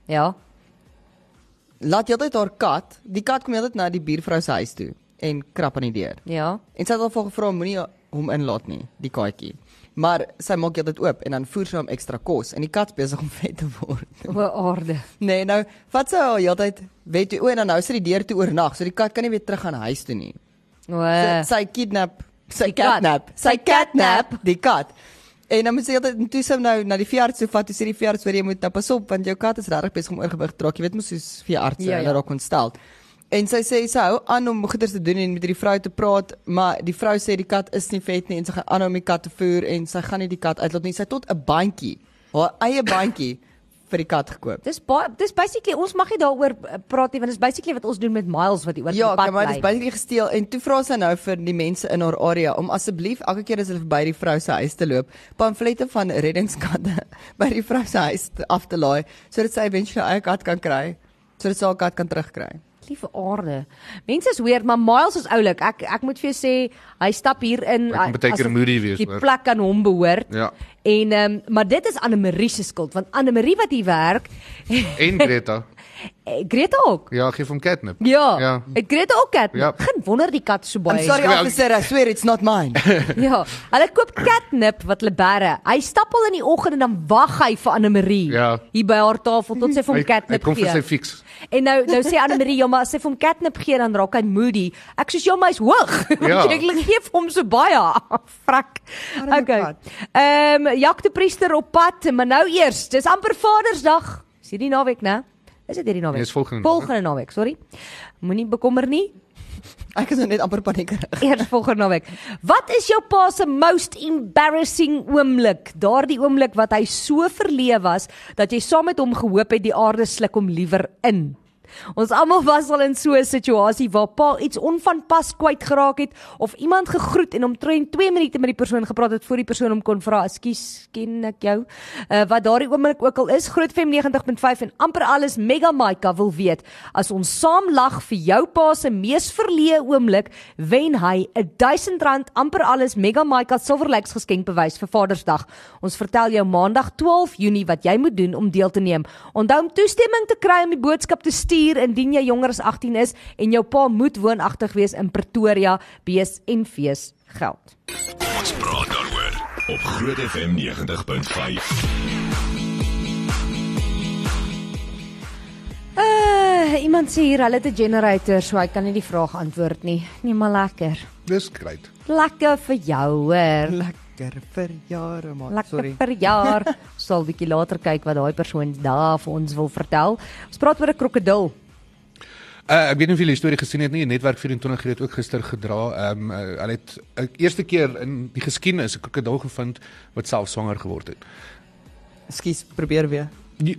S2: Ja.
S3: laat heeltyd haar kat, die kat kom heeltyd na die buurvrou se huis toe en krap aan die deur.
S2: Ja.
S3: En sy het al vir haar gevra moenie hom inlaat nie, die katjie. Maar sy maak heeltyd oop en dan voer sy hom ekstra kos en die kat is besig om vet te word.
S2: O aarde.
S3: Nee, nou vat sy haar heeltyd weet jy o en dan nou sy die deur toe oornag, so die kat kan nie weer terug aan huis toe nie.
S2: O. eh.
S3: Uh, sy kidnap, sy
S2: die kat.
S3: catnap,
S2: Sy
S3: sy
S2: catnap.
S3: catnap die kat. En dan moet sy altyd toe sy hom nou na die veearts toe vat, toe sê die veearts vir jy moet nou pas op want jou kat is regtig besig om oorgewig te raak. Jy weet mos soos veeartse
S2: Ja, ja.
S3: ja, ja. hulle raak ontstel. En sy sê sy hou aan om goeders te doen en met hierdie vrou te praat, maar die vrou sê die kat is nie vet nie en sy gaan aanhou om die kat te voer en sy gaan nie die kat uitlaat nie. Sy het tot 'n bandjie, haar eie bandjie vir die kat gekoop.
S2: Dis baie dis basically ons mag nie daaroor eh, praat nie want dis basically wat ons doen met Miles wat die oor
S3: Ja,
S2: die pad
S3: okay, maar dit is
S2: bly.
S3: baie gesteel en toe vra sy nou vir die mense in haar area om asseblief elke keer as hulle verby die vrou se huis te loop, pamflette van reddingskatte by die vrou se huis te- af te laai sodat sy eventually haar eie kat kan kry, sodat sy haar kat kan terugkry.
S2: Liewe aarde. Mense is weird, maar Miles is oulik. Ek ek moet vir jou sê, hy stap hier in
S4: Ek moet baie keer
S2: asof
S4: moody wees,
S2: Die
S4: hoor.
S2: plek aan hom behoort.
S4: Ja.
S2: En ehm um, maar dit is Anne Marie se skuld want Anne Marie wat hier werk,
S4: En Greta.
S2: eh, Greta ook.
S4: Ja, gee hom catnip.
S2: Ja.
S4: Ja.
S2: Het Greta ook kat?
S4: Ja.
S2: Geen wonder die kat so
S3: I'm
S2: baie.
S3: sorry
S4: Wel-
S3: officer, I swear it's not mine.
S2: Ja. Hulle koop catnip wat hulle bære. Hy stap al in die oggend en dan wag hy vir Anne Marie
S4: Ja.
S2: hier by haar tafel tot sy vir
S4: Hy,
S2: hom
S4: hy
S2: catnip
S4: kom vir
S2: gee.
S4: sy fix.
S2: En nou nou sê Anne Marie, "Ja, maar as sy vir hom catnip gee dan raak hy moody." Ek sê, "Ja, maar hy's hoog."
S4: Ja.
S2: Want jy gee vir hom so baie. Frak.
S3: Arme
S2: Okay.
S3: kat.
S2: Ehm um, Jacques de Priester op pad, maar nou eers. Dis amper Vadersdag. Is hierdie naweek, né? Is dit hierdie naweek?
S4: Nee, is volgende naweek.
S2: Volgende naweek, sorry. Moenie bekommer nie.
S3: Ek is nou net amper paniekerig.
S2: Eers volgende naweek. Wat is jou pa se most embarrassing oomblik? Daardie oomblik wat hy so verleef was dat jy saam met hom gehoop het die aarde sluk hom liewer in. Ons almal was al in so 'n situasie waar pa iets onvanpas kwyt geraak het of iemand gegroet en omtrent 2 minute met die persoon gepraat het voor die persoon hom kon vra, "Ekskuus, ken ek jou?" Uh, wat daardie oomblik ook al is, Groot FM 90.5 en amper alles Mega Maika wil weet. As ons saam lag vir jou pa se mees verleë oomblik, wen hy R1000 amper alles Mega Maika Silverlikes geskenkbewys vir Vadersdag. Ons vertel jou Maandag 12 Junie wat jy moet doen om deel te neem. Onthou om toestemming te kry om die boodskap te stuur indien jy jonger as 18 is en jou pa moet woonagtig wees in Pretoria, wees en fees geld.
S1: Ons praat daaroor op Groot FM 90.5.
S2: Uh, iemand sê hier hulle het 'n generator, so hy kan nie die vraag antwoord nie. Nee, maar lekker.
S4: Dis great.
S2: Lekker vir jou hoor.
S3: Lekker vir jare maar.
S2: Lekker
S3: Oh,
S2: Sorry.
S3: Sorry.
S2: per jaar. Ons Sal bietjie later kyk wat daai persoon daar vir ons wil vertel. Ons praat oor 'n krokodil.
S4: Uh, ek weet nie of julle die storie gesien het nie. Netwerk 24 het dit ook gister gedra. Ehm um, uh, hulle het uh, eerste keer in die geskiedenis 'n krokodil gevind wat self swanger geword het.
S3: Ekskuus, probeer weer.
S4: Die,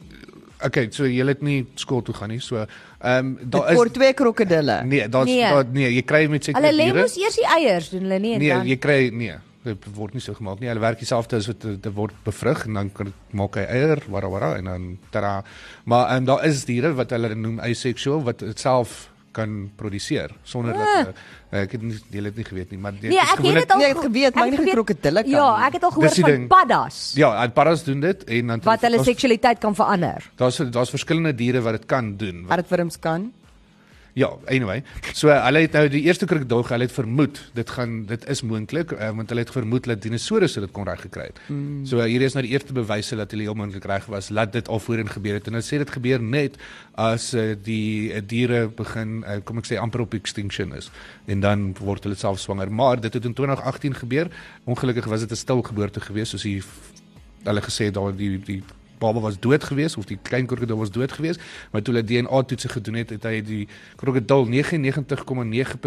S4: okay, so jy het nie skool toe gaan nie. So ehm um, daar
S3: Dit word
S4: is
S3: twee krokodille. Nee.
S4: Nee, daar's
S2: Nee.
S4: daar nee, jy kry met sekere
S2: Hulle lê
S4: diere.
S2: mos eers die eiers, doen hulle nie en
S4: Nee,
S2: dan.
S4: jy kry nee, dit word nie so gemaak nie. Hulle werk dieselfde as wat dit word bevrug en dan kan maak hy eier, ehm, wara wara en dan tada. Maar en daar is diere wat hulle noem aseksueel wat dit self kan produseer sonder dat uh, ek het nie jy het dit nie geweet nie, maar dit
S2: Ah. Nee,
S4: is
S2: ek het dit al
S3: Nee, ek het
S2: ge-
S3: geweet, maar
S2: ek
S3: nie
S2: het geweet-
S3: gekrokodille kan
S2: Ja,
S3: nie.
S2: ek het al
S4: Dis
S2: gehoor
S4: die
S2: van
S4: ding.
S2: paddas
S4: Ja, en paddas doen dit en dan
S2: wat hulle
S4: daar's-
S2: seksualiteit kan verander.
S4: daar's daar's verskillende diere wat dit kan doen. Wat,
S3: Aardwurms kan.
S4: ja, anyway. So hulle het nou die eerste krokodil, hulle het vermoed dit gaan dit is moontlik uh, want hulle het vermoed dat dinosourusse dit kon reg gekry het. Mm. So uh, hier is nou die eerste bewyse dat hulle heel moontlik reg was dat dit al voorheen gebeur het. En hulle sê dit gebeur net as uh, die uh, diere begin uh, kom ek sê amper op extinction is en dan word hulle self swanger. Maar dit het in 2018 gebeur. Ongelukkig was dit 'n stilgeboorte geweest soos die hulle gesê het daar die die baba was dood gewees of die klein krokodil was dood gewees, maar toe hulle DNA toetse gedoen het, het hy die krokodil 99,9%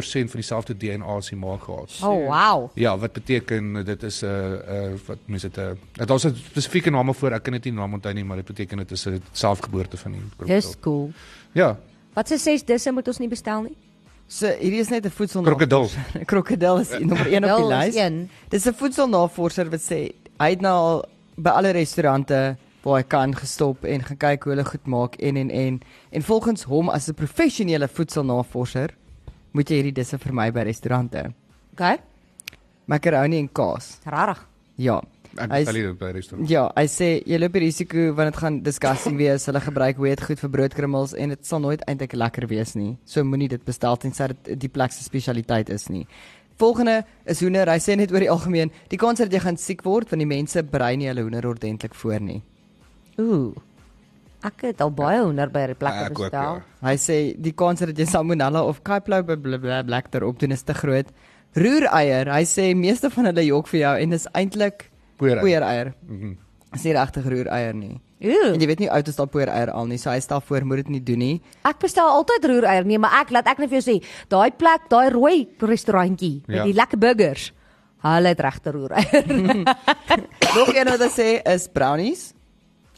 S4: van dieselfde DNA as die ma gehad.
S2: Oh wow.
S4: Ja, wat beteken dit is 'n uh, uh, wat mense dit 'n uh, daar's 'n spesifieke naam voor, ek kan dit nie naam onthou nie, maar dit beteken dit is 'n selfgeboorte van die krokodil.
S2: Dis cool.
S4: Ja,
S2: Wat se ses disse moet ons nie bestel nie?
S3: So hierdie is net 'n voedselnavorser.
S4: krokodil.
S3: Krokodil is nommer 1 op die
S2: Krokodil is
S3: lys.
S2: een.
S3: Dis 'n voedselnavorser wat sê hy het nou al by alle restaurante waar hy kan gestop en gaan kyk hoe hulle goed maak en en en en volgens hom as 'n professionele voedselnavorser moet jy hierdie disse vermy by restaurante.
S2: Okay.
S3: Makaroni en kaas.
S2: Rarig.
S3: Ja.
S4: Ek
S3: Hy
S4: sal dit by restaurant.
S3: Ja, hy sê jy loop die risiko want dit gaan disgusting wees. Hulle gebruik hoe dit goed vir broodkrummels en dit sal nooit eintlik lekker wees nie. So moenie dit bestel tensy dit die plek se spesialiteit is nie. Volgende is hoender. Hy sê net oor die algemeen, die kans dat jy gaan siek word want die mense brei nie hulle hoender ordentlik voor nie.
S2: Ooh. Ek het al baie hoender by 'n
S3: Ah,
S2: plek
S4: Ek ook, ja.
S2: bestel.
S3: Hy sê die kans dat jy salmonella of campylobacter opdoen is te groot. Roereier, hy sê meeste van hulle jok vir jou en dis eintlik
S4: Poeier.
S3: poeiereier. Mhm. Is nie regtig roereier nie.
S2: Ooh.
S3: En jy weet nie hoe oud is daai poeiereier al nie, so hy stel voor moet dit nie doen nie.
S2: Ek bestel altyd roereier, nee, maar ek laat ek net vir jou sê, daai plek, daai rooi restaurantjie met
S4: Ja.
S2: die lekker burgers. Hulle het regte roereier.
S3: Nog een wat hy sê is brownies.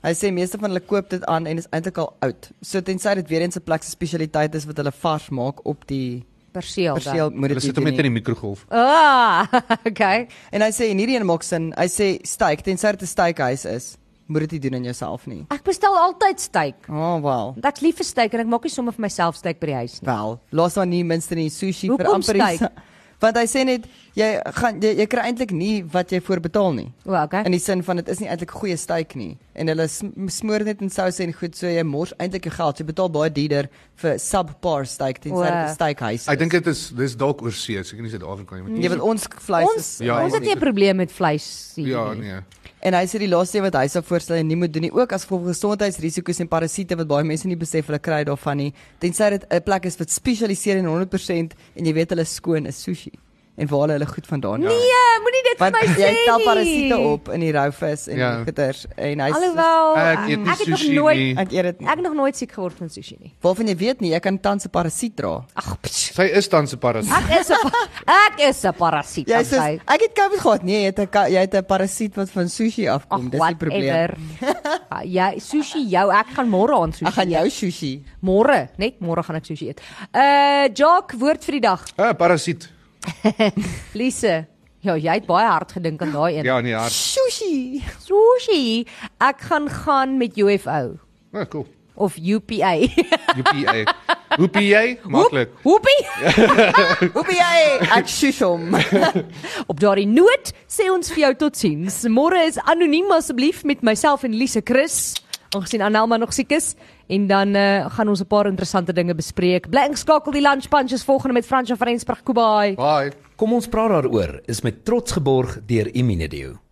S3: Hy sê meeste van hulle koop dit aan en is eintlik al oud. So tensy dit weer eens 'n plek se spesialiteit is wat hulle vars maak op die
S2: Perseel. dan.
S3: perseel moet
S4: Hulle
S3: dit nie
S4: sit hom
S3: doen
S4: net in
S3: nie.
S4: die mikrogolf.
S2: Ah, okay.
S3: En hy sê en hierdie een maak sin. Hy sê steak tensy dit 'n steakhuis is, moet dit nie doen aan jouself nie.
S2: Ek bestel altyd steak.
S3: Oh wel.
S2: Want Ek's lief vir steak en ek maak nie sommer vir myself steak by die huis nie.
S3: Wel, laas dan nie minste nie sushi vir
S2: Hoekom
S3: amper die
S2: steak?
S3: sa- want hy sê net jy gaan jy, jy kry eintlik nie wat jy voor betaal nie.
S2: O, okay.
S3: In die sin van dit is nie eintlik goeie steak nie en hulle sm- smoor net in sous en goed so jy mors eintlik jou geld. Jy betaal baie duurder vir subpar steak tensy dit
S2: Wow.
S3: 'n steakhuis.
S4: Ek dink dit is dis dalk oorsee, seker nie Suid-Afrika nie.
S3: jy
S4: maar-
S3: weet ons vleis
S2: Ons
S3: is
S4: Ja,
S2: ons het nie 'n probleem met vleis nie.
S4: Ja, nee.
S3: en hy sê die laaste ding wat hy sou voorstel en nie moet doen nie ook as gevolg van gesondheidsrisiko's en parasiete wat baie mense nie besef hulle kry daarvan nie. Tensy dit 'n plek is wat spesialiseer in 100% en jy weet hulle skoon is sushi en waar hulle hulle goed vandaan
S4: Ja.
S3: kry.
S2: Nee, moenie dit vir
S3: Want
S2: my sê.
S3: jy tel
S2: nie.
S3: parasiete op in die rou vis en ja.
S4: Ja.
S3: die goeters en hy
S2: Alhoewel
S4: Ek eet nie
S2: ek het nog
S4: sushi
S2: nooit
S4: nie.
S3: ek eet dit nie.
S2: ek het nog nooit siek geword van sushi nie.
S3: Waarvan jy weet nie, jy kan tans 'n parasiet dra.
S2: Ag, psh,
S4: Sy is tans 'n parasiet.
S2: ek is 'n pa- ek is 'n parasiet.
S3: Jy
S2: Jy
S3: sê
S2: sê
S3: ek het COVID gehad. Nee, jy het 'n ka- jy het 'n parasiet wat van sushi afkom.
S2: Ag,
S3: Dis die probleem.
S2: whatever. Ah, jy sushi jou, ek gaan môre aan sushi.
S3: Ek gaan jou
S2: eet.
S3: sushi.
S2: môre, net môre gaan ek sushi eet. Uh Jock, woord vir die dag.
S4: 'n uh, Parasiet.
S2: Lise. Ja, jy het baie hard gedink aan daai een.
S4: Ja, nee, haar.
S3: Sushi.
S2: Sushi. Ek gaan gaan met UFO
S4: Ja, oh, cool. eh,
S2: of UPA.
S4: UPA. UPA maklik. Ja.
S2: Hoep- Hoepie.
S3: Hoe ben jy? Ek sushi hom.
S2: Op daardie noot sê ons vir jou totsiens. Môre is anoniem asseblief met myself en Lise Chris. Aangesien Annelma nog siek is en dan uh, gaan ons 'n paar interessante dinge bespreek. Bly ingeskakel die lunch punches volgende met Frans van Rensburg Kubai.
S4: Bye.
S6: Kom ons praat daaroor is met trots geborg deur Imunedio.